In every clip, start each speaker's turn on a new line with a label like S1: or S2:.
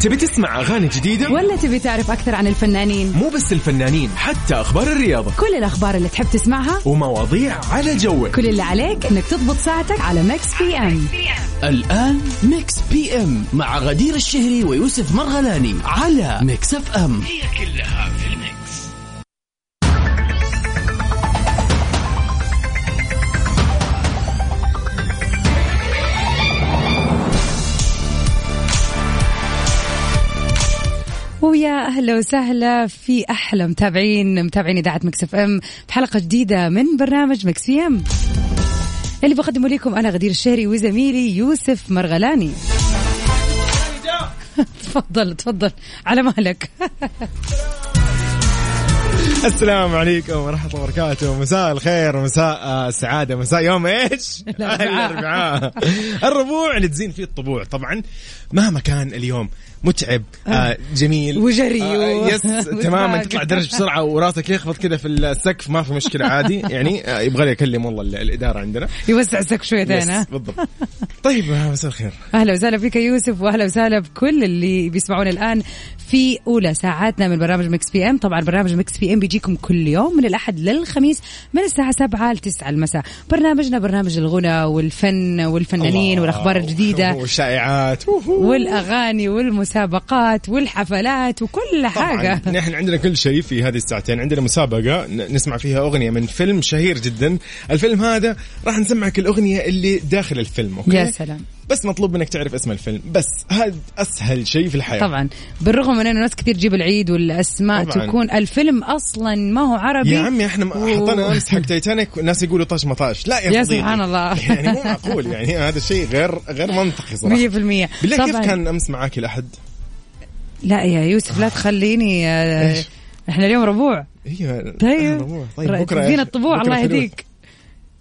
S1: تبي تسمع أغاني جديدة؟
S2: ولا تبي تعرف أكثر عن الفنانين
S1: مو بس الفنانين حتى أخبار الرياضة
S2: كل الأخبار اللي تحب تسمعها
S1: ومواضيع على جوك
S2: كل اللي عليك انك تضبط ساعتك على ميكس بي ام
S3: الآن ميكس بي ام مع غدير الشهري ويوسف مرغلاني على ميكس اف ام
S2: ويا اهلا وسهلا في احلى متابعين متابعين اذاعه مكس اف ام بحلقه جديده من برنامج مكس بي ام اللي بقدمه لكم انا غدير الشهري وزميلي يوسف مرغلاني تفضل تفضل على مهلك
S4: السلام عليكم ورحمة الله وبركاته مساء الخير ومساء آه، السعادة مساء يوم ايش؟
S2: الأربعاء.
S4: الأربعاء الربوع اللي تزين فيه الطبوع طبعا مهما كان اليوم متعب آه جميل
S2: وجري و-
S4: آه يس تماما تطلع درج بسرعة وراسك يخبط كذا في السقف ما في مشكلة عادي يعني آه يبغى لي أكلم والله ال- الإدارة عندنا
S2: يوسع السك شويه ثاني
S4: يس بالضبط طيب آه، مساء الخير
S2: اهلا وسهلا فيك يا يوسف واهلا وسهلا بكل اللي بيسمعونا الان في اولى ساعاتنا من برنامج مكس بي ام طبعا برنامج مكس بي ام بيجيكم كل يوم من الاحد للخميس من الساعه 7 ل 9 المساء برنامجنا برنامج الغنى والفن والفنانين
S4: الله.
S2: والاخبار الجديده
S4: والشائعات وهو.
S2: والاغاني والمسابقات والحفلات وكل حاجه
S4: طبعا نحن عندنا كل شيء في هذه الساعتين عندنا مسابقة ن- نسمع فيها أغنية من فيلم شهير جدا الفيلم هذا راح نسمعك الأغنية اللي داخل الفيلم أوكي؟
S2: يا سلام
S4: بس مطلوب منك تعرف اسم الفيلم بس هذا أسهل شيء في الحياة
S2: طبعا بالرغم من انه ناس كثير تجيب العيد والاسماء
S4: أيوة. طبعاً.
S2: تكون الفيلم اصلا ما هو عربي
S4: يا عمي احنا
S2: و-
S4: حطينا امس حق تايتانيك والناس يقولوا طاش مطاش لا يا,
S2: يا
S4: فضيلي.
S2: سبحان الله.
S4: يعني مو معقول يعني هذا شيء غير غير منطقي صراحه
S2: 100%
S4: بالله كيف
S2: طبعاً.
S4: كان امس معاك الاحد؟
S2: لا يا يوسف لا تخليني آه،
S4: إيش؟
S2: احنا اليوم ربوع
S4: ايوه
S2: طيب
S4: طيب
S2: ر-
S4: بكره
S2: تدينا الطبوع
S4: بكرة
S2: الله
S4: فلوس.
S2: يهديك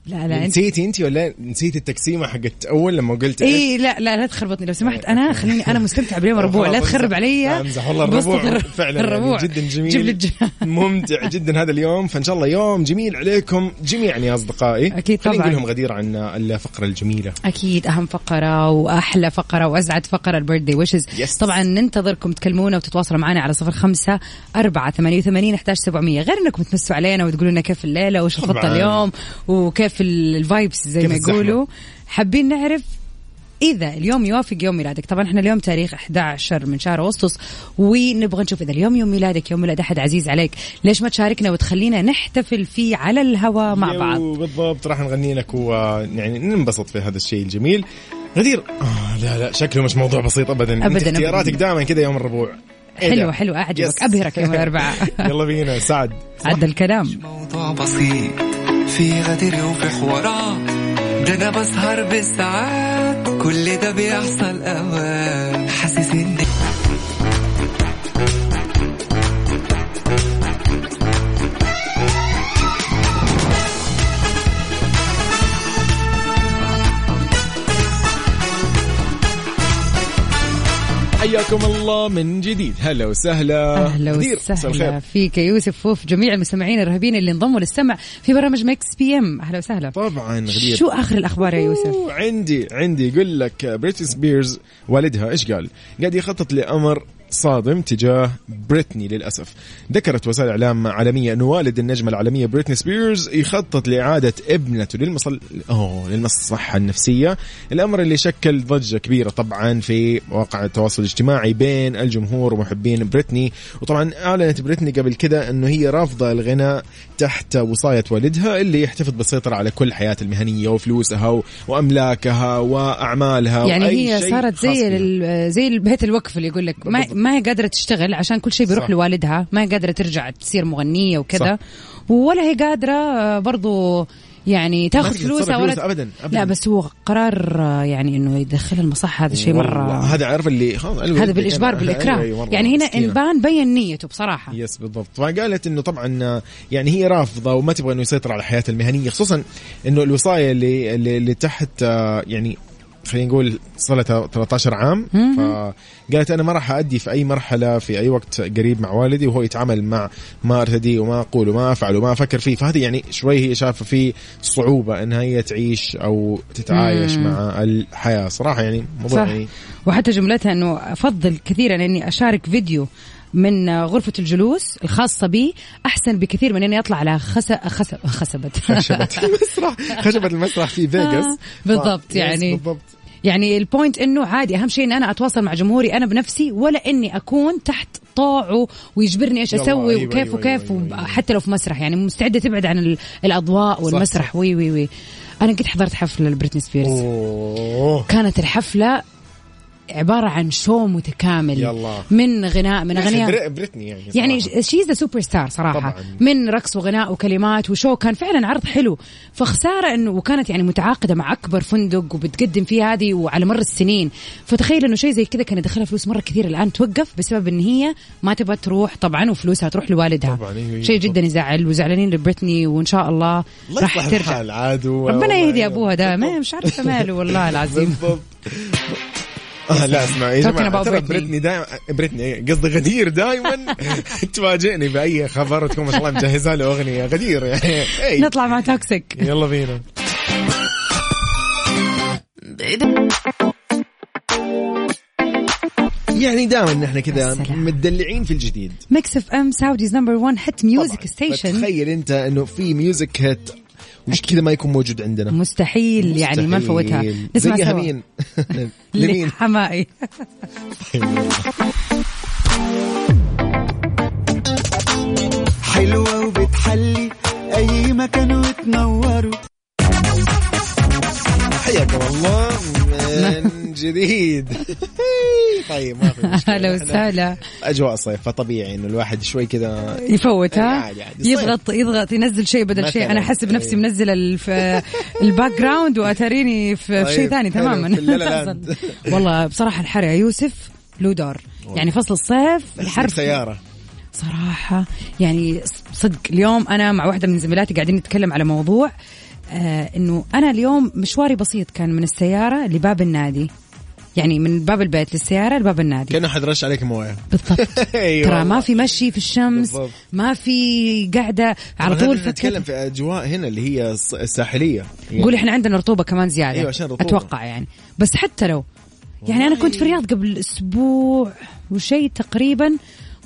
S2: لا لا انت إيه،
S4: نسيتي انت ولا نسيتي التقسيمه حقت اول لما قلت إيش؟
S2: اي لا لا لا تخربطني لو سمحت انا خليني انا مستمتع باليوم ربوع لا
S4: خلاص
S2: تخرب
S4: امزح.
S2: علي
S4: لا امزح والله
S2: بسط
S4: الربوع
S2: الر-
S4: فعلا
S2: الربوع
S4: يعني جدا جميل
S2: جيب لي الج-
S4: ممتع جدا هذا اليوم فان شاء الله يوم جميل عليكم جميعا يا اصدقائي
S2: أكيد
S4: خلينا
S2: طبعاً.
S4: نقول لهم غدير عن الفقره الجميله
S2: اكيد اهم فقره واحلى فقره واسعد فقره البيرثدي ويشز
S4: Yes.
S2: طبعا ننتظركم تكلمونا وتتواصلوا معنا على صفر خمسة أربعة ثمانية وثمانين أحداش سبعمية غير انكم تمسوا علينا وتقولوا لنا كيف الليله وش
S4: طبعاً.
S2: الخطه اليوم وكيف ال- الفايبس زي
S4: كيف
S2: ما
S4: الزحمة؟
S2: يقولوا حابين نعرف إذا اليوم يوافق يوم ميلادك، طبعا احنا اليوم تاريخ 11 من شهر أغسطس ونبغى نشوف إذا اليوم يوم ميلادك يوم ميلاد أحد عزيز عليك، ليش ما تشاركنا وتخلينا نحتفل فيه على الهوا مع
S4: يو،
S2: بعض؟
S4: بالضبط راح نغني لك ويعني ننبسط في هذا الشيء الجميل غدير آه لا لا شكله مش موضوع بسيط ابدا أنت
S2: أبداً،
S4: اختياراتك
S2: أبداً.
S4: دائما كذا يوم الربوع إيه
S2: حلو
S4: ده؟
S2: حلو أعجبك
S4: يس.
S2: أبهرك يوم الأربعاء
S4: يلا بينا سعد
S2: عدى الكلام
S5: موضوع بسيط في غدر وفي حوارات ده انا بسهر بالساعات كل ده بيحصل اوقات حاسس اني
S4: حياكم الله من جديد هلا وسهلا
S2: اهلا
S4: غدير، مساء
S2: وسهلا
S4: الخير.
S2: فيك يا يوسف وفي جميع المستمعين الرهيبين اللي انضموا للسمع في برامج ميكس بي ام اهلا وسهلا
S4: طبعا غدير
S2: شو اخر الاخبار يا يوسف؟
S4: طيب، أوه، عندي عندي يقول لك بريتني سبيرز والدها ايش قال؟ قاعد يخطط لامر صادم تجاه بريتني للاسف. ذكرت وسائل اعلام عالميه ان والد النجمه العالميه بريتني سبيرز يخطط لاعاده ابنته للمصل اوه للمصحه النفسيه، الامر اللي شكل ضجه كبيره طبعا في مواقع التواصل الاجتماعي بين الجمهور ومحبين بريتني، وطبعا اعلنت بريتني قبل كذا انه هي رافضه الغناء تحت وصايه والدها اللي يحتفظ بالسيطره على كل حياتها المهنيه وفلوسها و- واملاكها واعمالها
S2: يعني
S4: وأي
S2: هي
S4: شيء
S2: صارت
S4: خاص
S2: زي
S4: بها.
S2: لل... زي بيت الوقف اللي يقول لك ما,
S4: بالضبط.
S2: ما هي قادره تشتغل عشان كل شيء بيروح
S4: صح.
S2: لوالدها، ما هي قادره ترجع تصير مغنيه وكذا
S4: صح.
S2: ولا هي قادره آه، برضو يعني تاخذ
S4: تقدر تتصرف
S2: فلوسها
S4: فلوسها
S2: ولا
S4: أبداً، أبداً.
S2: لا بس هو قرار آه، يعني انه يدخلها المصحه هذا شيء
S4: والله،
S2: مره
S4: هذا عارف اللي خلاص قلبي
S2: هذا
S4: يدق.
S2: بالاجبار
S4: أيوة، أيوة،
S2: بالاكراه
S4: والله،
S2: يعني هنا ان
S4: مسكينة.
S2: بان بين نيته بصراحه
S4: يس بالضبط فقالت انه طبعا يعني هي رافضه وما تبغى انه يسيطر على حياتها المهنيه خصوصا انه الوصايه اللي اللي, اللي تحت آه، يعني خلينا نقول صار لها 13 عام فقالت انا ما راح ادي في اي مرحله في اي وقت قريب مع والدي وهو يتعامل مع ما ارتدي وما اقول وما افعل وما افكر فيه فهذه يعني شوي هي شافه في صعوبه انها هي تعيش او تتعايش مع الحياه صراحه يعني موضوع
S2: صح
S4: يعني
S2: وحتى جملتها انه افضل كثيرا اني اشارك فيديو من غرفة الجلوس الخاصة بي أحسن بكثير من إني أطلع على خس... خس... خسبت
S4: خشبت المسرح خشبت المسرح في فيغاس
S2: آه، بالضبط
S4: ف-
S2: يعني.
S4: يس، بالضبط
S2: يعني البوينت انه عادي اهم شيء ان انا اتواصل مع جمهوري انا بنفسي ولا اني اكون تحت طاعه ويجبرني ايش
S4: يلا،
S2: اسوي
S4: أيوة،
S2: وكيف
S4: أيوة،
S2: وكيف
S4: أيوة، أيوة.
S2: حتى لو في مسرح يعني مستعده تبعد عن ال- الاضواء والمسرح وي وي وي انا قد حضرت حفله لبريتني سبيرز
S4: اوه
S2: كانت الحفله عباره عن شو متكامل
S4: يلا.
S2: من غناء من اغنيه
S4: بري- بريتني يعني
S2: يعني
S4: صراحة.
S2: شي ذا سوبر ستار صراحه
S4: طبعاً.
S2: من رقص وغناء وكلمات وشو كان فعلا عرض حلو فخساره انه وكانت يعني متعاقده مع اكبر فندق وبتقدم فيه هذه وعلى مر السنين فتخيل انه شيء زي كذا كان يدخلها فلوس مره كثير الان توقف بسبب ان هي ما تبغى تروح طبعا وفلوسها تروح لوالدها
S4: طبعاً، أيوة، أيوة،
S2: شيء
S4: طبعاً.
S2: جدا يزعل وزعلانين لبريتني وان شاء الله
S4: الله
S2: راح
S4: يصلح
S2: ترجع
S4: الحال عاد و-
S2: ربنا
S4: والله
S2: يهدي
S4: يعني.
S2: ابوها ده ما مش عارفه ماله والله العظيم
S4: بالضبط آه لا اسمع يا
S2: Talking
S4: جماعه
S2: about
S4: ترى
S2: Britney.
S4: بريتني دائما بريتني إيه، قصدي غدير دائما تفاجئني باي خبر وتكون ما شاء الله مجهزه له اغنيه غدير يعني إي.
S2: نطلع مع توكسيك
S4: يلا بينا يعني دائما نحن كذا
S2: السلام.
S4: متدلعين في الجديد
S2: ميكس اف ام سعوديز نمبر 1 هت ميوزك
S4: طبعاً.
S2: ستيشن
S4: تخيل انت انه في ميوزك هيت وش كذا ما يكون موجود عندنا
S2: مستحيل, يعني ما نفوتها
S4: مستحيل.
S2: نسمع
S4: زيها
S2: سوا
S4: مين لمين
S2: حمائي
S5: حلوة وبتحلي أي مكان وتنوره
S4: حياكم الله
S2: نعم.
S4: من جديد طيب ما في مشكلة.
S2: هلا وسهلا
S4: اجواء صيف فطبيعي انه الواحد شوي كذا
S2: يفوت ها
S4: عادي، عادي. يعني. صيف.
S2: يضغط يضغط ينزل شيء بدل شيء انا
S4: مثلاً.
S2: احس بنفسي
S4: إيه.
S2: منزل الف... الباك جراوند واتاريني في في شيء
S4: طيب،
S2: ثاني
S4: حلو،
S2: تماما
S4: في اللا لا لاند.
S2: والله بصراحه الحر يا يوسف له دور يعني فصل الصيف الحر
S4: سياره
S2: صراحة يعني صدق اليوم أنا مع واحدة من زميلاتي قاعدين نتكلم على موضوع آه إنه أنا اليوم مشواري بسيط كان من السيارة لباب النادي يعني من باب البيت للسيارة لباب النادي أيوة،
S4: كانه حد رش عليك مويه
S2: بالضبط
S4: أي
S2: ترى
S4: والله.
S2: ما في مشي في الشمس
S4: بالضبط.
S2: ما في قاعدة على
S4: طبعاً
S2: طول
S4: نحن نتكلم
S2: فكرة
S4: في اجواء هنا اللي هي الس- الساحليه يعني
S2: قول احنا عندنا رطوبة كمان زيادة
S4: أيوة، عشان رطوبة.
S2: أتوقع يعني بس حتى لو يعني أنا كنت في الرياض قبل أسبوع وشيء تقريبا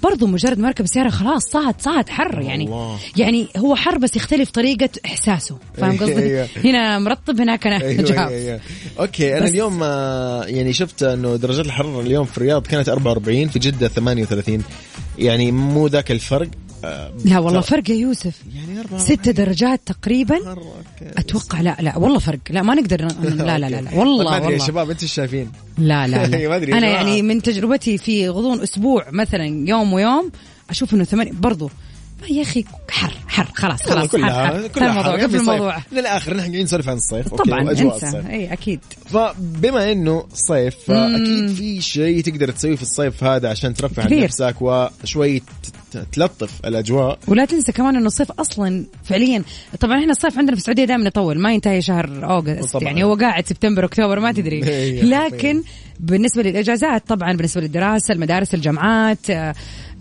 S2: برضو مجرد ما اركب السياره خلاص صعد صعد حر يعني
S4: الله.
S2: يعني هو حر بس يختلف طريقه احساسه فاهم قصدي
S4: أيوة.
S2: هنا مرطب هناك انا
S4: أيوة،
S2: جاف
S4: أيوة. اوكي انا
S2: بس-
S4: اليوم آه، يعني شفت انه درجات الحراره اليوم في الرياض كانت 44 في جده 38 يعني مو ذاك الفرق آه،
S2: لا والله فرق يا يوسف
S4: يعني 44
S2: ست درجات تقريبا
S4: مرة كده.
S2: اتوقع لا لا والله فرق لا ما نقدر ن- لا لا لا, لا والله
S4: طيب، ما ادري يا
S2: والله
S4: شباب انتم ايش شايفين
S2: لا لا, لا.
S4: ما أدري يا
S2: انا
S4: جماعة.
S2: يعني من تجربتي في غضون اسبوع مثلا يوم ويوم اشوف انه ثمانية برضو ما يا اخي حر حر خلاص
S4: يلا،
S2: خلاص حر حر انتهى الموضوع
S4: حرب.
S2: قبل
S4: طيب، يعني صيف.
S2: الموضوع
S4: للاخر نحن قاعدين نسولف عن الصيف أوكي،
S2: طبعا
S4: وأجواء
S2: انسى إيه،
S4: الصيف.
S2: اي اكيد
S4: فبما انه صيف فاكيد في شيء تقدر تسويه في الصيف هذا عشان ترفع عن
S2: كثير.
S4: نفسك وشوي ت- ت- تلطف الاجواء
S2: ولا تنسى كمان انه الصيف اصلا فعليا طبعا احنا الصيف عندنا في السعوديه دائما يطول ما ينتهي شهر اوغست
S4: طبعاً.
S2: يعني هو قاعد سبتمبر اكتوبر ما تدري
S4: إيه،
S2: لكن بالنسبه للاجازات طبعا بالنسبه للدراسه المدارس الجامعات آه،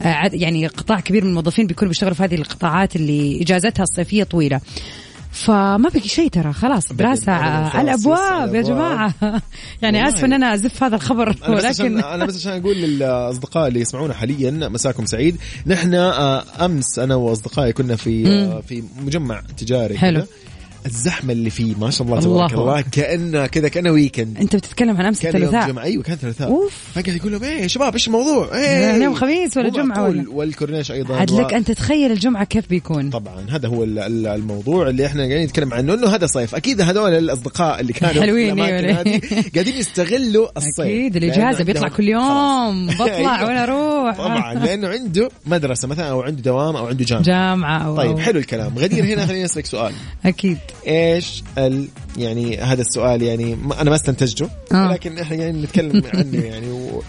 S2: آه، عد- يعني قطاع كبير من الموظفين بيكونوا بيشتغلوا في هذه القطاعات اللي اجازتها الصيفيه طويله فما بقي شيء ترى خلاص دراسه
S4: أبداً، خلاص،
S2: على الابواب يا
S4: يس، على
S2: جماعه يعني
S4: والله.
S2: اسف ان انا ازف هذا الخبر
S4: انا بس عشان
S2: ولكن
S4: انا بس عشان اقول للاصدقاء اللي يسمعونا حاليا مساكم سعيد نحن آه، امس انا واصدقائي كنا في آه، في مجمع تجاري
S2: حلو.
S4: كده. الزحمه اللي فيه ما شاء الله
S2: الله
S4: تبارك الله كانه كذا كانه ويكند
S2: انت بتتكلم عن امس
S4: كان يوم
S2: الثلاثاء
S4: جمعة ايوه كان ثلاثاء
S2: أوف.
S4: فقاعد يقول لهم ايه يا شباب ايش الموضوع؟ ايه
S2: يعني يوم خميس ولا
S4: مو
S2: جمعة
S4: معقول.
S2: ولا؟
S4: والكورنيش ايضا
S2: عاد
S4: و-
S2: لك ان تتخيل الجمعه كيف بيكون
S4: طبعا هذا هو ال- ال- الموضوع اللي احنا قاعدين نتكلم عنه انه هذا صيف اكيد هذول الاصدقاء اللي كانوا
S2: حلوين،
S4: في الاماكن
S2: أيوة.
S4: هذه قاعدين يستغلوا الصيف
S2: اكيد
S4: لأنه
S2: الاجازه
S4: عندهم-
S2: بيطلع كل يوم
S4: خلاص.
S2: بطلع
S4: أيوة.
S2: ولا اروح
S4: طبعا لانه عنده مدرسه مثلا او عنده دوام او عنده جامعه
S2: جامعه أو
S4: طيب حلو الكلام غدير هنا خليني اسالك سؤال
S2: اكيد
S4: ايش ال يعني هذا السؤال يعني ما انا ما استنتجته
S2: آه.
S4: ولكن احنا يعني نتكلم عنه يعني و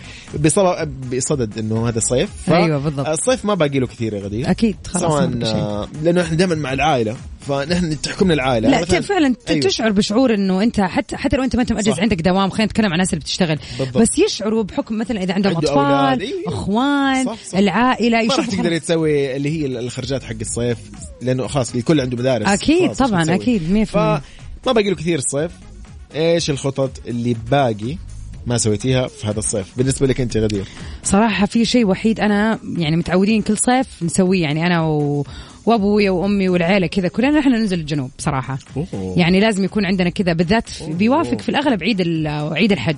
S4: بصل- بصدد انه هذا الصيف
S2: أيوة بالضبط.
S4: الصيف ما باقي له كثير يا غدير
S2: اكيد خلاص ما
S4: سواء
S2: بقى شيء.
S4: آه، لانه احنا دائما مع العائله فنحن تحكمنا العائله
S2: لا
S4: مثلاً-
S2: ت- فعلا ت-
S4: أيوة.
S2: تشعر بشعور انه انت حتى حتى لو انت ما انت مأجز
S4: صح.
S2: عندك دوام خلينا نتكلم عن الناس اللي بتشتغل
S4: بالضبط.
S2: بس يشعروا بحكم مثلا اذا عندهم
S4: عنده أولاد،
S2: اطفال
S4: أيوه.
S2: اخوان
S4: صح، صح.
S2: العائله
S4: ما راح
S2: يشوفوا
S4: تقدري
S2: خلاص.
S4: تسوي اللي هي الخرجات حق الصيف لانه خلاص الكل عنده مدارس
S2: أكيد
S4: خلاص مش
S2: طبعاً،
S4: بتسوي.
S2: أكيد، مية في المية.
S4: فما باقي له كثير الصيف ايش الخطط اللي باقي ما سويتيها في هذا الصيف بالنسبه لك انت غدير
S2: صراحه في شيء وحيد انا يعني متعودين كل صيف نسويه يعني انا و... وابوي وامي والعيله كذا كلنا احنا ننزل الجنوب صراحه
S4: أوه.
S2: يعني لازم يكون عندنا كذا بالذات في- بيوافق في الاغلب عيد ال- عيد الحج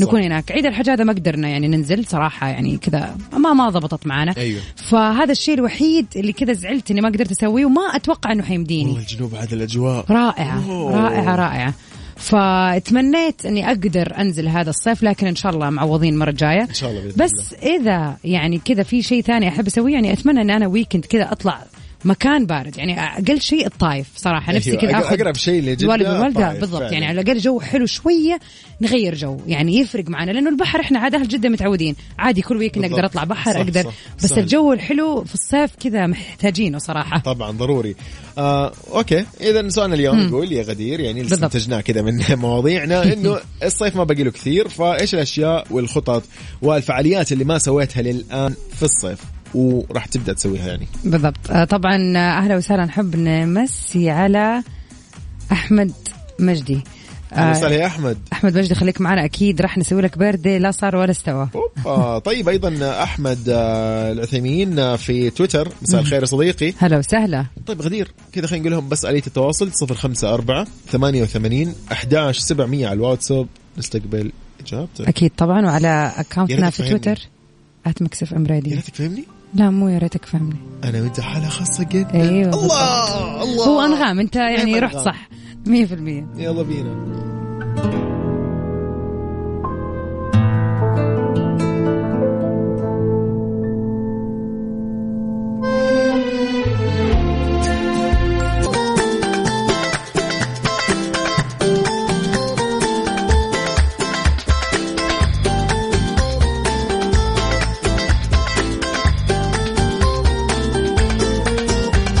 S2: نكون هناك عيد الحج هذا ما قدرنا يعني ننزل صراحه يعني كذا ما ما ضبطت معنا
S4: أيوه.
S2: فهذا الشيء الوحيد اللي كذا زعلت اني ما قدرت اسويه وما اتوقع انه حيمديني
S4: والله الجنوب هذا الاجواء
S2: رائعة
S4: أوه.
S2: رائعة رائعة فتمنيت اني اقدر انزل هذا الصيف لكن ان شاء الله معوضين المره الجايه ان
S4: شاء الله بإذن
S2: بس اذا يعني كذا في شيء ثاني احب اسويه يعني اتمنى ان انا ويكند كذا اطلع مكان بارد يعني اقل شيء الطايف صراحه نفسي
S4: أيوة،
S2: كذا
S4: أقرب-
S2: اخذ
S4: أقرب شيء لجدة
S2: الوالد والوالده
S4: الطائف،
S2: بالضبط
S4: طيب، فعلاً.
S2: يعني على الاقل جو حلو شويه نغير جو يعني يفرق معنا لانه البحر احنا عاد اهل جده متعودين عادي كل ويكند
S4: بالضبط.
S2: اقدر اطلع بحر
S4: صح،
S2: اقدر
S4: صح،
S2: بس
S4: سهل.
S2: الجو الحلو في الصيف كذا محتاجينه صراحه
S4: طبعا ضروري آه، اوكي اذا سؤالنا اليوم يقول يا غدير يعني اللي
S2: بالضبط.
S4: استنتجناه كذا من مواضيعنا انه الصيف ما باقي له كثير فايش الاشياء والخطط والفعاليات اللي ما سويتها للان في الصيف وراح تبدا تسويها يعني
S2: بالضبط آه، طبعا آه، اهلا وسهلا نحب نمسي على احمد مجدي
S4: أهلا
S2: آه،
S4: وسهلا يا احمد
S2: احمد مجدي خليك معنا اكيد راح نسوي لك بيرثدي لا صار ولا استوى
S4: اوبا طيب ايضا احمد آه، العثيمين آه، في تويتر مساء الخير يا صديقي
S2: هلا وسهلا
S4: طيب غدير كذا خلينا نقول لهم بس آلية التواصل 054 88 11 700 على الواتساب نستقبل اجابتك
S2: اكيد طبعا وعلى
S4: يا ريت
S2: اكونتنا في
S4: تفهمني.
S2: تويتر @مكسف ام
S4: يا
S2: راديو
S4: ريتك فهمني
S2: لا مو يا ريتك فهمني
S4: انا وانت حاله خاصه جدا
S2: ايوه
S4: الله الله
S2: هو انغام انت يعني
S4: دايماً
S2: رحت
S4: أنغام.
S2: صح 100%
S4: يلا بينا
S3: كل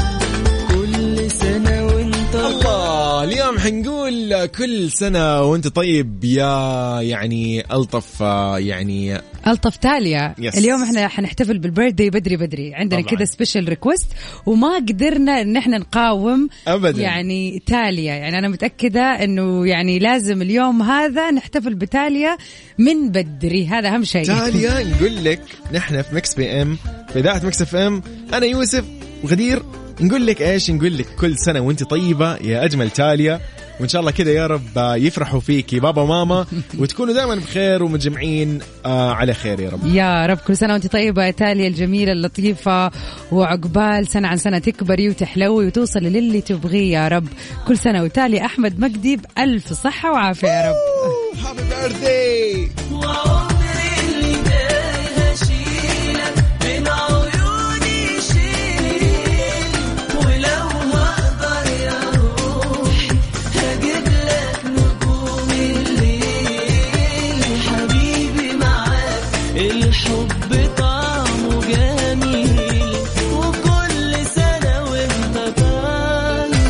S3: سنة وانت
S4: الله اليوم حنقول كل سنة وانت طيب يا يعني ألطف آه، يعني
S2: الطف تاليا
S4: Yes.
S2: اليوم احنا حنحتفل بالبيرثدي بدري بدري عندنا
S4: طبعاً.
S2: كذا سبيشل ريكوست وما قدرنا ان احنا نقاوم
S4: أبداً.
S2: يعني تاليا يعني انا متاكده انه يعني لازم اليوم هذا نحتفل بتاليا من بدري هذا اهم شيء
S4: تاليا نقول لك نحن في مكس بي ام في إذاعة مكس اف ام أنا يوسف وغدير نقول لك ايش نقول لك كل سنة وانت طيبة يا أجمل تاليا وإن شاء الله كذا يا رب آه، يفرحوا فيكي بابا وماما وتكونوا دائما بخير ومتجمعين آه، على خير يا رب
S2: يا رب كل سنه وانت طيبه يا تاليا الجميله اللطيفه وعقبال سنه عن سنه تكبري وتحلوي وتوصلي للي تبغيه يا رب كل سنه وتاليا احمد مجدي بالف صحه وعافيه يا رب
S4: هابي بيرثداي
S6: وعمري اللي تايه اشيلك من عيوني شيل ولو هقدر يا روحي هجيب لك نجوم الليل حبيبي معاك الحب طعمه جميل وكل سنة وانت طيب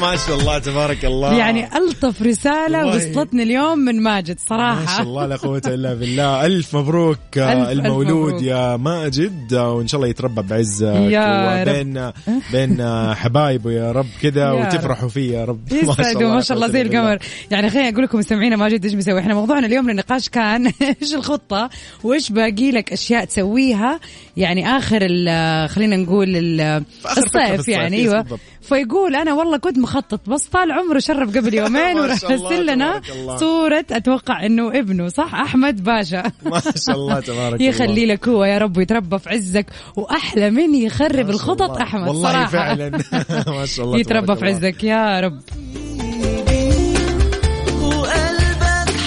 S4: ما شاء الله تبارك الله
S2: يعني الطف رساله
S4: آه. والله.
S2: وصلتني اليوم من ماجد صراحه
S4: ما شاء الله لا قوة إلا بالله ألف مبروك
S2: ألف-
S4: آه،
S2: ألف
S4: المولود
S2: مبروك.
S4: يا ماجد آه، وإن شاء الله يتربى بعز
S2: يا رب.
S4: بين بين آه، حبايبه يا رب كذا
S2: يا
S4: وتفرحوا فيه يا رب
S2: يسعدوا ما شاء الله
S4: لا قوة
S2: زي
S4: إلا بالله.
S2: القمر يعني خليني اقول لكم مستمعينا ماجد ايش مسوي احنا موضوعنا اليوم للنقاش كان ايش الخطه وايش باقي لك اشياء تسويها يعني اخر ال- خلينا نقول ال-
S4: آخر فترة في
S2: الصيف
S4: الصيف،
S2: يعني
S4: يس،
S2: ايوه
S4: بالضبط.
S2: فيقول انا والله كنت مخطط بس طال عمره شرب قبل يومين
S4: ما
S2: وراح
S4: شاء الله،
S2: يرسل لنا
S4: تبارك الله.
S2: صوره اتوقع انه ابنه صح احمد باشا
S4: ما شاء الله، تبارك
S2: يخلي
S4: الله.
S2: لك هو يا رب ويتربى في عزك واحلى من يخرب
S4: ما شاء
S2: الخطط
S4: الله.
S2: احمد
S4: والله
S2: صراحه
S4: فعلاً. ما شاء الله،
S2: يتربى
S4: تبارك
S2: في
S4: الله.
S2: عزك يا رب
S6: وقلبك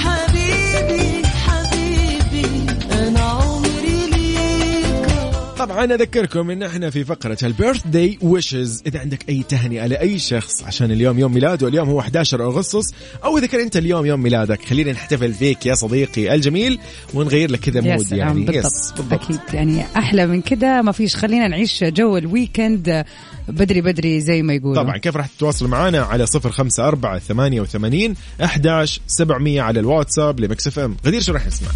S6: حبيبي حبيبي انا عمري ليك
S4: طبعا اذكركم ان احنا في فقره البيرث داي ويشز اذا عندك اي تهنئه لاي شخص عشان اليوم يوم ميلاده اليوم هو 11 اغسطس او اذا كان انت اليوم يوم ميلادك خلينا نحتفل فيك يا صديقي الجميل ونغير لك كذا
S2: يا
S4: مود
S2: سلام
S4: يعني
S2: بالضبط.
S4: Yes،
S2: اكيد يعني احلى من كده ما فيش خلينا نعيش جو الويكند بدري بدري زي ما يقولوا
S4: طبعا كيف راح تتواصل معنا على 054 88 11 700 على الواتساب لمكس اف ام غدير شو راح نسمع؟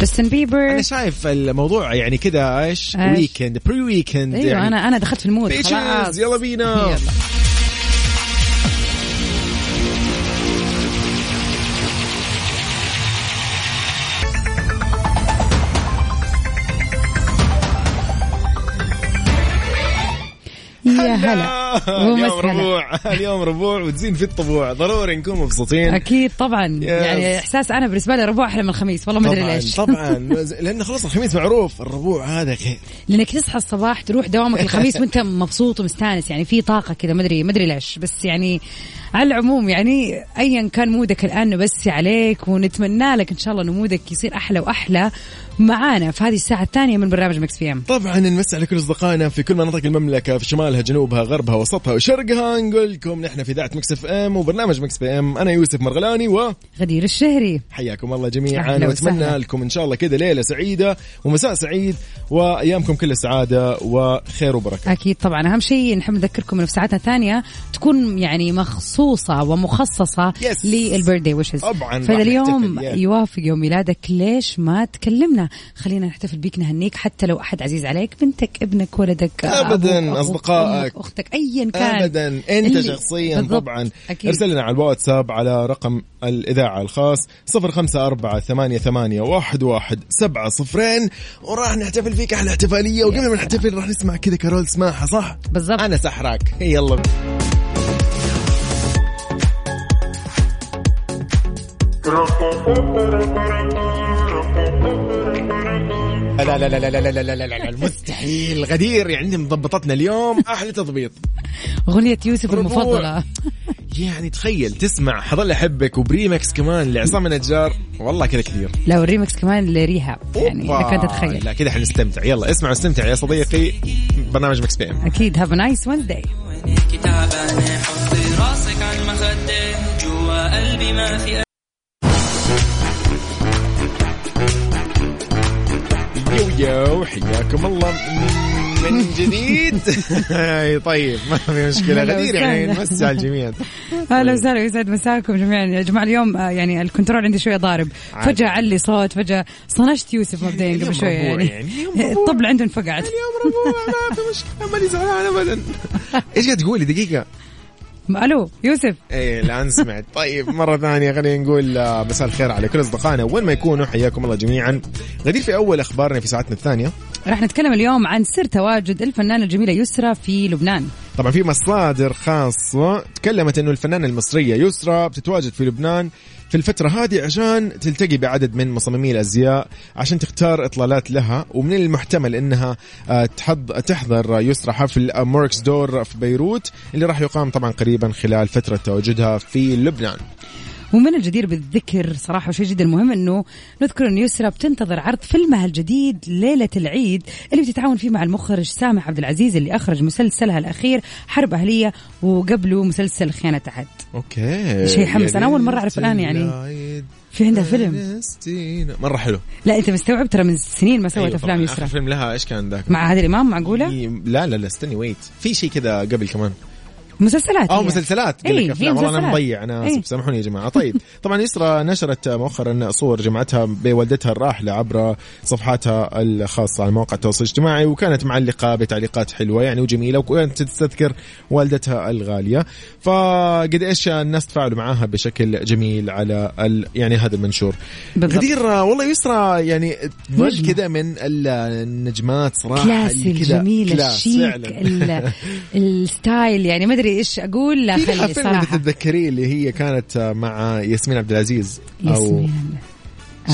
S2: جاستن بيبر
S4: انا شايف الموضوع يعني كذا ايش؟
S2: إيش؟
S4: ويكند بري ويكند
S2: ايوه
S4: يعني
S2: انا انا دخلت في المود
S4: Bitches،
S2: خلاص
S4: يلا بينا
S2: يلا. يا هلا
S4: اليوم
S2: ومسهلا.
S4: ربوع اليوم ربوع وتزين في الطبوع ضروري نكون مبسوطين
S2: اكيد طبعا يعني احساس انا بالنسبه لي ربع احلى من الخميس والله ما ادري
S4: طبعا
S2: ليش
S4: طبعا لان خلاص الخميس معروف الربوع هذا خير
S2: لانك تصحى الصباح تروح دوامك الخميس وانت مبسوط ومستانس يعني في طاقه كذا ما ادري ما ادري ليش بس يعني على العموم يعني ايا كان مودك الان نبسي عليك ونتمنى لك ان شاء الله انه مودك يصير احلى واحلى معانا في هذه الساعه الثانيه من برنامج مكس بي ام
S4: طبعا نمسي على كل اصدقائنا في كل مناطق المملكه في شمالها جنوبها غربها وسطها وشرقها نقول لكم نحن في اذاعه مكس اف ام وبرنامج مكس بي ام انا يوسف مرغلاني و
S2: غدير الشهري
S4: حياكم الله جميعا
S2: أهلا
S4: واتمنى
S2: وسهلا.
S4: لكم ان شاء الله كذا ليله سعيده ومساء سعيد وايامكم كلها سعاده وخير وبركه
S2: اكيد طبعا اهم شيء نحب نذكركم انه في ساعتنا الثانيه تكون يعني مخصوصه ومخصصه
S4: Yes.
S2: للبيرثدي ويشز
S4: طبعاً، راح
S2: فاذا اليوم
S4: نحتفل، yeah.
S2: يوافق يوم ميلادك ليش ما تكلمنا خلينا نحتفل بيك نهنيك حتى لو احد عزيز عليك بنتك ابنك ولدك
S4: أبداً،
S2: أبوك، أخوك،
S4: أصدقائك.
S2: أمك، اختك ايا كان
S4: ابدا انت
S2: اللي-
S4: شخصيا
S2: بالضبط.
S4: طبعا
S2: أكيد.
S4: ارسل لنا على الواتساب على رقم الاذاعه الخاص 054 88 11 7 صفرين وراح نحتفل فيك احلى احتفاليه وقبل ما نحتفل راح نسمع كذا كارول سماحه صح؟
S2: بالضبط.
S4: انا سحراك يلا لا لا لا لا لا لا لا لا لا مستحيل غدير يعني مضبطتنا اليوم احلى تضبيط
S2: اغنيه يوسف
S4: ربوع.
S2: المفضله
S4: يعني تخيل تسمع حظل احبك وبريمكس كمان لعصام النجار والله كذا كثير
S2: لو الريمكس كمان لريهاب يعني
S4: أوبا.
S2: لك أن تتخيل
S4: لا كذا حنستمتع يلا اسمع واستمتع يا صديقي برنامج مكس بي ام
S2: اكيد هاف نايس وينزداي
S6: عينيكي تعبانة حطي راسك على المخدة جوا قلبي ما في
S4: يو يو حياكم الله من جديد أي طيب ما في مشكله
S2: أهلا
S4: غدير يعني
S2: وسهلا.
S4: نمسي على الجميع
S2: اهلا
S4: طيب.
S2: وسهلا يسعد مساكم جميعا يا جماعه اليوم آه، يعني الكنترول عندي شويه ضارب
S4: عادي.
S2: فجاه علي صوت فجاه صنشت يوسف مبدئيا
S4: اليوم
S2: قبل شويه
S4: ربوع
S2: يعني
S4: يعني، اليوم ربوع.
S2: الطبل عنده انفقعت
S4: اليوم ربوع ما في مشكله ماني زعلان ابدا ايش قاعد تقولي دقيقه
S2: الو يوسف
S4: ايه الان سمعت طيب مره ثانيه خلينا نقول آه، مساء الخير على كل اصدقائنا وين ما يكونوا حياكم الله جميعا غدير في اول اخبارنا في ساعتنا الثانيه
S2: راح نتكلم اليوم عن سر تواجد الفنانه الجميله يسرى في لبنان
S4: طبعا في مصادر خاصة تكلمت انه الفنانة المصرية يسرى بتتواجد في لبنان في الفترة هذه عشان تلتقي بعدد من مصممي الازياء عشان تختار اطلالات لها ومن المحتمل انها آه، تحض- تحضر يسرى حفل آه، موركس دور في بيروت اللي راح يقام طبعا قريبا خلال فترة تواجدها في لبنان.
S2: ومن الجدير بالذكر صراحه شيء جدا مهم انه نذكر ان يسرى بتنتظر عرض فيلمها الجديد ليله العيد اللي بتتعاون فيه مع المخرج سامح عبد العزيز اللي اخرج مسلسلها الاخير حرب اهليه وقبله مسلسل خيانه عهد
S4: اوكي
S2: شيء يحمس. أنا أول مرة أعرف الآن يعني. في
S4: آه،
S2: عندها فيلم
S4: مرة حلو.
S2: لا انت مستوعب ترى من سنين ما سوت
S4: أيوة
S2: افلام
S4: طبعاً. إيه.
S2: يسرى
S4: آخر فيلم لها ايش كان ذاك؟
S2: مع عادل امام معقوله؟
S4: لا لا لا استني ويت في شيء كذا قبل كمان
S2: مسلسلات
S4: اه
S2: هي.
S4: مسلسلات قال
S2: إيه،
S4: لك
S2: هي
S4: افلام والله انا
S2: مسلسلات.
S4: مضيع انا اسف
S2: إيه.
S4: سامحوني يا جماعه طيب طبعا يسرا نشرت مؤخرا صور جمعتها بوالدتها الراحله عبر صفحاتها الخاصه على مواقع التواصل الاجتماعي وكانت معلقه بتعليقات حلوه يعني وجميله وكانت تستذكر والدتها الغاليه فقد ايش الناس تفاعلوا معاها بشكل جميل على ال... يعني هذا المنشور
S2: بالضبط.
S4: غدير والله يسرا يعني تظل
S2: نجمة.
S4: كذا من ال- النجمات صراحه اللي
S2: كلاسي
S4: يعني كذا
S2: الجميله
S4: كلاس
S2: الشيك
S4: فعلاً.
S2: ال- الستايل يعني ما ادري ايش اقول لا
S4: في لها
S2: خلي
S4: فيلم إذا
S2: صراحه
S4: تتذكريه اللي هي كانت مع ياسمين عبد العزيز
S2: ياسمين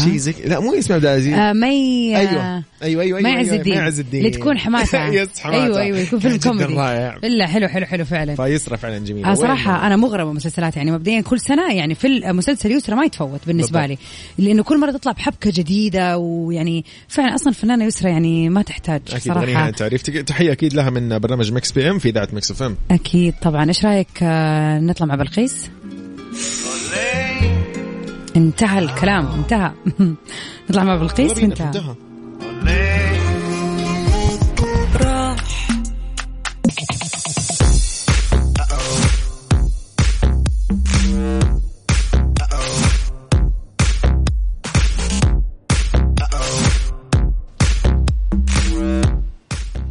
S4: شيء زي لا مو اسمها عبد العزيز
S2: آه مي
S4: ايوه ايوه ايوه
S2: ما
S4: أيوة،
S2: يعز
S4: أيوة،
S2: الدين
S4: ما يعز الدين
S2: لتكون حماسه
S4: يس حماسه
S2: ايوه ايوه يكون فيلم
S4: كان جداً
S2: كوميدي
S4: رائع
S2: الا حلو حلو حلو فعلا
S4: فيسرى فعلا جميل
S2: آه صراحة أنا مغرمة مسلسلات يعني مبدئيا كل سنة يعني في المسلسل يسرى ما يتفوت بالنسبة لي
S4: بالضبط.
S2: لأنه كل مرة تطلع بحبكة جديدة ويعني فعلا أصلا الفنانة يسرى يعني ما تحتاج
S4: اكيد غنيها
S2: صراحة
S4: تعريف تحيه اكيد لها من برنامج مكس بي ام في اذاعه مكس اف ام
S2: أكيد طبعا إيش رأيك آه، نطلع مع بلقيس انتهى الكلام انتهى نطلع مع بلقيس انتهى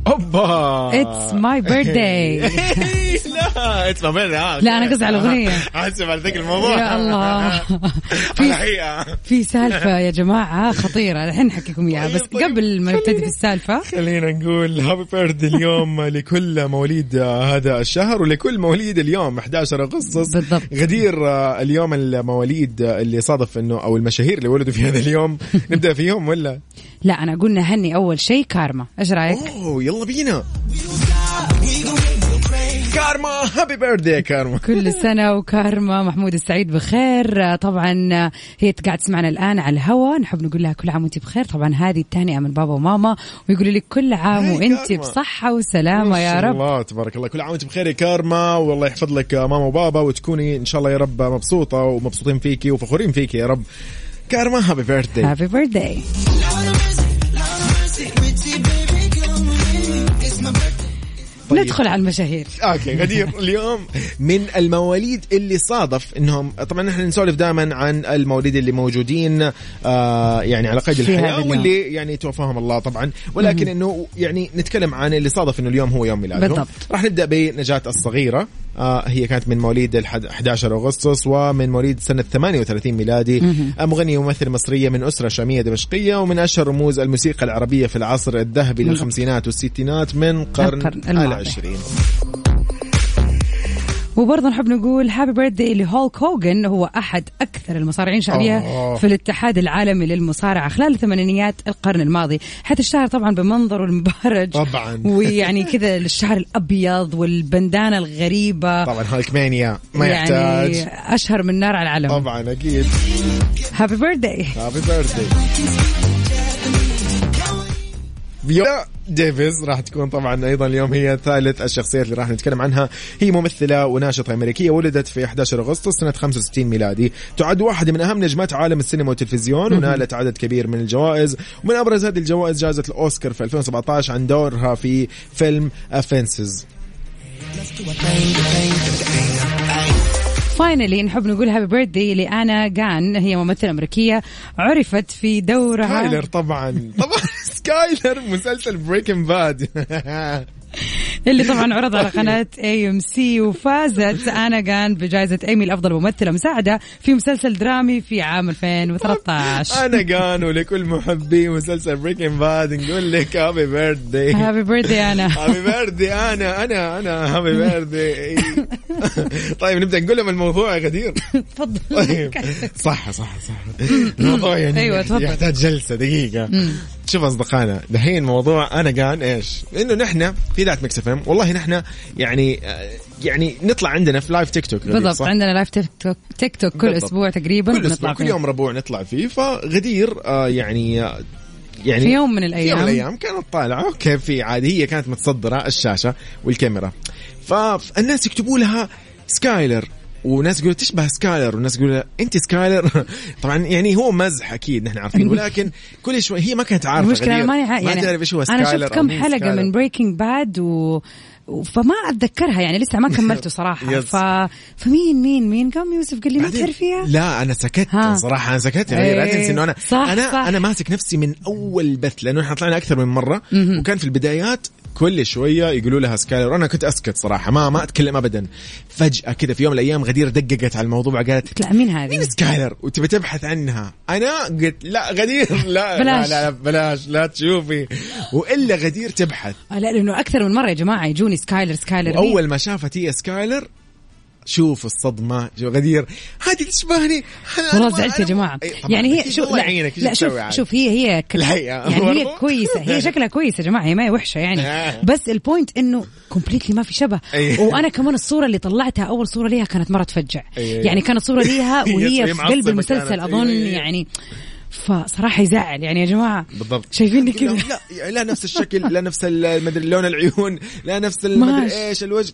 S4: اوبا
S2: اتس ماي بيرثداي
S4: لا اتس ماي
S2: لا، أنا قصدي على الأغنية.
S4: احسب على ذاك الموضوع
S2: يا الله في
S4: الحقيقه
S2: في سالفة يا جماعة خطيرة الحين نحكيكم اياها بس
S4: طيب، طيب.
S2: قبل ما نبتدي في السالفة
S4: خلينا نقول هابي بيرث اليوم لكل مواليد هذا الشهر ولكل مواليد اليوم 11 اغسطس
S2: بالضبط.
S4: غدير آه، اليوم المواليد آه، اللي صادف انه او المشاهير اللي ولدوا في هذا اليوم نبدا فيهم ولا
S2: لا أنا قلنا هني أول شيء كارما إيش رأيك؟
S4: اوه يلا بينا كارما هابي بيرث كارما
S2: كل سنة وكارما محمود السعيد بخير آه، طبعا آه، هي قاعد تسمعنا الآن على الهوا نحب نقول لها كل عام وانت بخير طبعا هذه التهنئة من بابا وماما ويقولوا لك كل عام
S4: هاي
S2: وانت
S4: كارما.
S2: بصحة وسلامة يا
S4: إن شاء
S2: رب
S4: الله تبارك الله كل عام وانت بخير يا كارما والله يحفظ لك آه، ماما وبابا وتكوني ان شاء الله يا رب مبسوطه ومبسوطين فيكي وفخورين فيكي يا رب كارما هابي بيرثدي
S2: هابي بيرثداي ندخل على المشاهير
S4: اوكي غدير اليوم من المواليد اللي صادف انهم طبعا احنا نسولف دائما عن المواليد اللي موجودين آه يعني على قيد
S2: في هذا
S4: الحياه
S2: اليوم.
S4: واللي يعني توفاهم الله طبعا ولكن انه يعني نتكلم عن اللي صادف انه اليوم هو يوم ميلادهم
S2: بالضبط.
S4: راح نبدا بنجاة الصغيره آه هي كانت من مواليد الحد- 11 اغسطس ومن مواليد سنه 38 ميلادي آه، مغنيه وممثله مصريه من اسره شاميه دمشقيه ومن اشهر رموز الموسيقى العربيه في العصر الذهبي
S2: بالضبط.
S4: للخمسينات والستينات من قرن
S2: القرن الماضي.
S4: العشرين
S2: وبرضه نحب نقول هابي بيرثداي لهولك هوجن هو احد اكثر المصارعين شعبيه
S4: آه.
S2: في الاتحاد العالمي للمصارعه خلال ثمانينيات القرن الماضي، حتى الشهر طبعا بمنظره المبهرج
S4: طبعاً.
S2: ويعني كذا الشعر الابيض والبندانه الغريبه
S4: طبعا هالك مانيا ما يحتاج
S2: يعني اشهر من نار على العلم
S4: طبعا اكيد
S2: هابي بيرثداي
S4: هابي بيرثدي فيولا ديفيز راح تكون طبعا ايضا اليوم هي ثالث الشخصيات اللي راح نتكلم عنها هي ممثله وناشطه امريكيه ولدت في 11 اغسطس سنه 65 ميلادي تعد واحده من اهم نجمات عالم السينما والتلفزيون ونالت عدد كبير من الجوائز ومن ابرز هذه الجوائز جائزه الاوسكار في 2017 عن دورها في فيلم افنسز
S2: فاينلي نحب نقول هابي بيرثداي لانا جان هي ممثله امريكيه عرفت في دورها
S4: سكايلر طبعا طبعا سكايلر مسلسل بريكنج باد
S2: اللي طبعا عرض على قناة اي ام سي وفازت انا كان بجائزة ايمي لافضل ممثلة مساعدة في مسلسل درامي في عام 2013
S4: انا جان ولكل محبي مسلسل بريكنج باد نقول لك هابي بيرثدي
S2: هابي بيرثدي انا
S4: هابي بيرثدي انا انا انا هابي بيرثدي طيب نبدا نقول لهم الموضوع يا غدير
S2: تفضل
S4: طيب صح صح صح الموضوع يعني
S2: أيوة، تفضل.
S4: يحتاج جلسه دقيقه شوف اصدقائنا دحين موضوع انا قان ايش؟ انه نحن في ذات مكس اف ام والله نحن يعني يعني نطلع عندنا في لايف تيك توك غدير،
S2: بالضبط
S4: صح؟
S2: عندنا لايف تيك توك تيك توك كل
S4: بالضبط.
S2: اسبوع تقريبا
S4: كل
S2: بنطلع
S4: اسبوع كل
S2: فيه.
S4: يوم ربوع نطلع فيه فغدير آه يعني آه، يعني
S2: في يوم من
S4: في يوم من
S2: الايام
S4: الايام كانت طالعه اوكي في عادي هي كانت متصدره الشاشه والكاميرا فالناس يكتبوا لها سكايلر وناس يقولوا تشبه سكايلر وناس يقولوا لها انت سكايلر طبعا يعني هو مزح اكيد نحن عارفين ولكن كل شوي هي ما كانت عارفه
S2: المشكلة انا
S4: غدير.
S2: ماني عا-
S4: ما تعرف ايش هو سكايلر
S2: انا يعني شفت
S4: أو
S2: كم
S4: مين
S2: حلقة
S4: سكايلر.
S2: من بريكنج باد و و- فما اتذكرها يعني لسه ما كملته صراحه
S4: يس.
S2: ف... فمين مين مين قام يوسف قال لي ما
S4: بعدين-
S2: تعرفيها
S4: لا انا سكت
S2: ها.
S4: صراحه انا سكت يعني لا
S2: إيه.
S4: تنسي انه انا
S2: صح،
S4: انا
S2: صح.
S4: انا ماسك نفسي من اول بث لانه احنا طلعنا اكثر من مره وكان في البدايات كل شويه يقولوا لها سكايلر وانا كنت اسكت صراحه ما ما اتكلم ابدا فجاه كذا في يوم من الايام غدير دققت على الموضوع قالت
S2: لا مين هذه
S4: مين سكايلر وتبي تبحث عنها انا قلت لا غدير لا
S2: بلاش.
S4: لا, لا بلاش لا تشوفي والا غدير تبحث
S2: آه، لا لانه اكثر من مره يا جماعه يجوني سكايلر سكايلر مين؟
S4: واول ما شافت هي سكايلر شوف الصدمه شو غدير هذه تشبهني أنا-
S2: والله
S4: أنا-
S2: زعلت يا جماعه
S4: أي طبعاً.
S2: يعني هي
S4: أكيد
S2: شوف
S4: الله
S2: لا,
S4: يعينك، إيش
S2: لا شوف
S4: تسوي عاد؟
S2: شوف هي هي ك-
S4: الحقيقة.
S2: يعني هي
S4: برضو.
S2: كويسه هي شكلها كويسه يا جماعه هي ما هي وحشه يعني بس البوينت انه كومبليتلي ما في شبه
S4: آه. أي.
S2: وانا كمان الصوره اللي طلعتها اول صوره ليها كانت مره تفجع
S4: أي.
S2: يعني كانت صوره ليها
S4: هي
S2: وهي في
S4: معصبة
S2: قلب المسلسل
S4: كانت. أي.
S2: اظن يعني فصراحه يزعل يعني يا جماعه
S4: بالضبط
S2: شايفيني كذا
S4: كلهم لا لا نفس الشكل لا نفس ال- مدري لون العيون لا نفس ال-
S2: ماشي.
S4: مدري ايش الوجه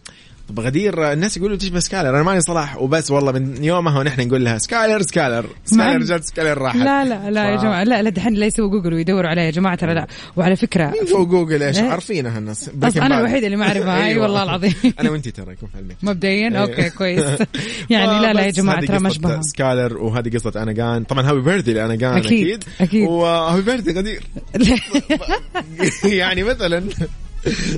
S4: طب غدير الناس يقولوا تشبه سكالر انا ماني صلاح وبس والله من يومها ونحن نقول لها سكالر سكالر
S2: مع
S4: سكالر
S2: إن-
S4: رجعت سكالر راحت
S2: لا لا لا يا
S4: ف-
S2: جماعه لا لا دحين لا يسووا جوجل ويدوروا عليها يا جماعه ترى لا وعلى فكره
S4: مين فوق جوجل ايش
S2: إيه؟
S4: عارفينها الناس
S2: أصلاً أنا الوحيدة اللي ما أعرفها. أي والله العظيم.
S4: انا وانت ترى يكون في علمك
S2: مبدئيا اوكي كويس يعني
S4: آه،
S2: لا لا يا
S4: إيه. بس
S2: جماعه
S4: هذه
S2: ترى ما
S4: قصة
S2: أشبهها.
S4: سكالر وهذه قصه اناجان طبعا هابي بيرثدي لاناجان
S2: أكيد،
S4: اكيد
S2: أكيد.
S4: وهابي بيرثدي غدير يعني مثلا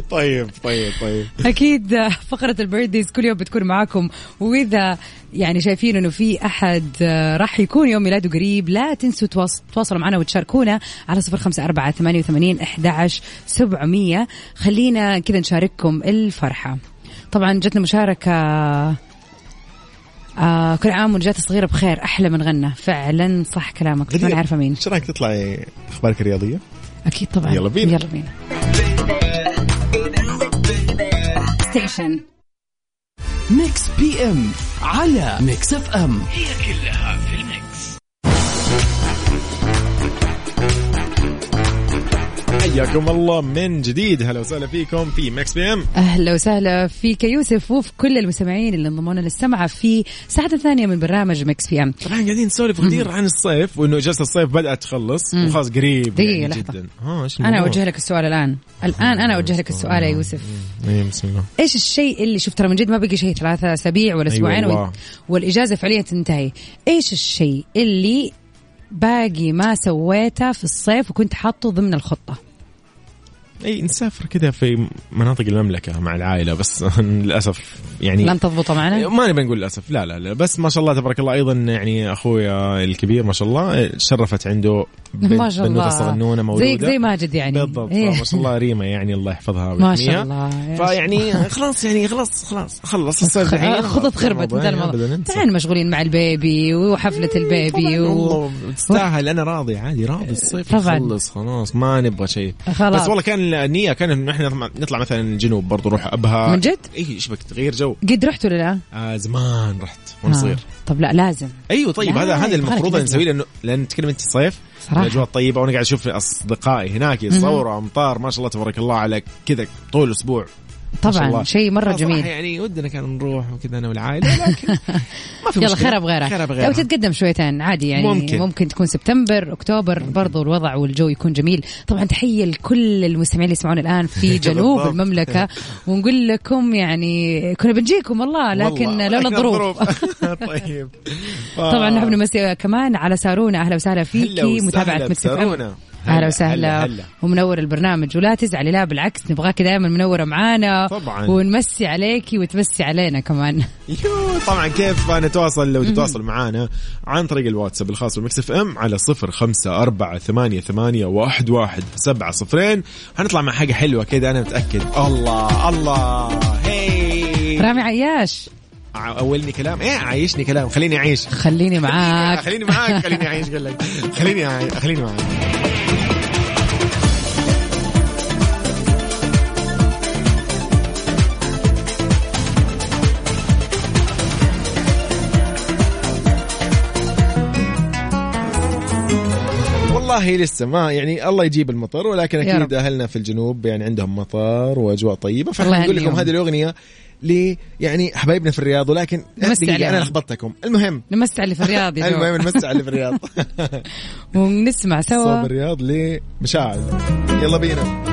S4: طيب طيب طيب
S2: اكيد فقره البيرثديز كل يوم بتكون معاكم واذا يعني شايفين انه في احد آه، راح يكون يوم ميلاده قريب لا تنسوا تواص- تواصلوا معنا وتشاركونا على صفر خمسه اربعه ثمانيه وثمانين احداعش سبعمئه خلينا كذا نشارككم الفرحه طبعا جتنا مشاركه آه كل عام ونجات الصغيرة بخير أحلى من غنى فعلا صح كلامك بس ما أنا عارفة مين
S4: ايش رايك تطلعي اخبارك الرياضيه؟
S2: أكيد طبعا
S4: يلا بينا.
S2: يلا بينا ستيشن
S3: ميكس بي ام على ميكس اف ام
S4: حياكم الله من جديد هلا وسهلا فيكم في مكس بي ام
S2: اهلا وسهلا فيك يا يوسف وفي كل المستمعين اللي انضموا لنا للسمعه في ساعتنا الثانيه من برنامج مكس في ام
S4: طبعا قاعدين نسولف غدير عن الصيف وانه اجازه الصيف بدات تخلص وخلاص قريب
S2: دقيقة،
S4: يعني
S2: لحظة.
S4: جدا ها ايش
S2: انا
S4: الموضوع؟
S2: اوجه لك السؤال الان الان انا اوجه لك السؤال يا يوسف
S4: اي إيه، بسم الله
S2: ايش الشيء اللي شوف ترى من جد ما بقي شيء ثلاثة اسابيع ولا
S4: أي
S2: اسبوعين
S4: والله.
S2: والاجازه فعليا تنتهي ايش الشيء اللي باقي ما سويته في الصيف وكنت حاطه ضمن الخطه
S4: اي إيه، نسافر كذا في مناطق المملكه مع العائله بس للاسف يعني
S2: لن تضبطه معنا
S4: ما نبي نقول للاسف لا لا لا بس ما شاء الله تبارك الله ايضا يعني اخويا الكبير ما شاء الله إيه، شرفت عنده بنت-
S2: ما شاء
S4: بنوته
S2: الله
S4: صغنونه مولوده
S2: زيك زي ماجد يعني
S4: بالضبط
S2: إيه.
S4: ما شاء الله ريما يعني الله يحفظها
S2: ما شاء
S4: ويحميها.
S2: الله، يا
S4: فيعني خلاص يعني خلاص خلاص خلص الصيف
S2: خ-
S4: الحين
S2: خطط خربت انتهى الموضوع تعال مشغولين مع البيبي وحفله البيبي و...
S4: تستاهل انا راضي عادي راضي الصيف
S2: إيه، طبعاً.
S4: خلص خلاص ما نبغى شيء
S2: خلاص.
S4: بس والله كان النيه كان إنه احنا نطلع مثلا الجنوب برضو نروح ابها
S2: من جد؟
S4: اي ايش بك تغير جو
S2: قد رحتوا ولا لا؟
S4: آه زمان رحت وانا صغير
S2: آه. طب لا لازم
S4: ايوه طيب
S2: لا،
S4: هذا هذا
S2: يبغالك
S4: المفروض
S2: لازم.
S4: أن نسويه لانه لان تتكلم انت الصيف
S2: صراحة.
S4: الاجواء طيبه وانا طيب، قاعد اشوف اصدقائي هناك يصوروا امطار ما شاء الله تبارك الله على كذا طول الاسبوع ما شاء الله.
S2: طبعا شيء مره
S4: آه، صراحة
S2: جميل
S4: يعني ودنا كان نروح وكذا انا والعائله لكن ما في
S2: يلا
S4: مشكلة.
S2: خيرها بغيرها
S4: خيرها
S2: لو
S4: بغيرها
S2: تتقدم شويتين عادي يعني
S4: ممكن.
S2: ممكن, ممكن تكون سبتمبر اكتوبر برضو الوضع والجو يكون جميل طبعا تحيه لكل المستمعين اللي يسمعون الان في جنوب
S4: بالضبط.
S2: المملكه ونقول لكم يعني كنا بنجيكم والله لكن
S4: والله،
S2: لولا
S4: لكن
S2: الظروف
S4: طيب ف-
S2: طبعا نحب نمسي كمان على سارونا اهلا وسهلا
S4: آه. هلا
S2: فيكي
S4: وسهلا
S2: متابعه مكس إف إم.
S4: بسارونا.
S2: اهلا وسهلا
S4: هلا.
S2: ومنور البرنامج ولا تزعلي لا بالعكس نبغاك دائما منوره معانا
S4: طبعاً.
S2: ونمسي عليكي وتمسي علينا كمان
S4: يو طبعا كيف نتواصل لو تتواصل معنا عن طريق الواتساب الخاص بالمكس اف ام على صفر خمسة أربعة ثمانية, ثمانية واحد, واحد سبعة صفرين هنطلع مع حاجة حلوة كده أنا متأكد الله الله هي
S2: رامي عياش
S4: ع- أولني كلام إيه عايشني كلام خليني أعيش
S2: خليني معاك
S4: خليني معاك خليني أعيش قال لك خليني أعي- خليني معاك والله لسه ما يعني الله يجيب المطر ولكن
S2: يا
S4: اكيد
S2: رب.
S4: اهلنا في الجنوب يعني عندهم مطر واجواء طيبه
S2: الله
S4: فاحنا نقول لكم
S2: يهنيهم.
S4: هذه الاغنيه ل يعني حبايبنا في الرياض ولكن
S2: نمسي
S4: دقيقة،
S2: عليهم.
S4: انا لخبطتكم المهم
S2: نمسي على في الرياض يا
S4: المهم
S2: جو
S4: نمسي على اللي في الرياض
S2: ونسمع سوا
S4: صوب الرياض لمشاعل يلا بينا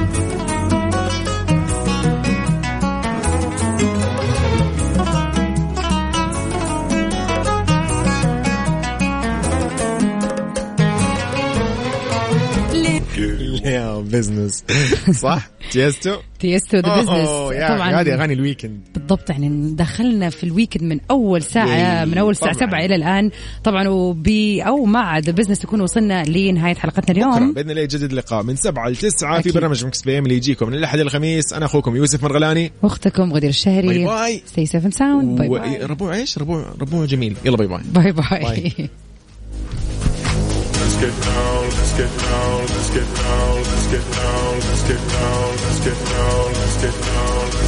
S4: يا بزنس صح Oh, تيستو
S2: تيستو ذا بزنس
S4: أوه، يا أخي، هذه اغاني الويكند
S2: بالضبط يعني دخلنا في الويكند من اول ساعه
S4: إيه،
S2: من اول الساعه
S4: طبعاً.
S2: 7 الى الان طبعا وبي او مع ذا بزنس نكون وصلنا لنهايه حلقتنا
S4: بكره
S2: اليوم
S4: باذن الله يجدد اللقاء من 7 ل 9 في
S2: أكيد.
S4: برنامج مكس بي ام اللي يجيكم من الاحد للخميس انا اخوكم يوسف مرغلاني
S2: اختكم غدير الشهري
S4: باي باي.
S2: ستي سيف ساوند باي باي
S4: ربوع ايش؟ ربوع ربوع جميل يلا باي باي
S2: باي باي
S7: So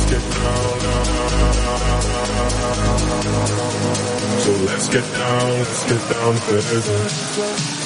S7: let's get down, let's get down to business.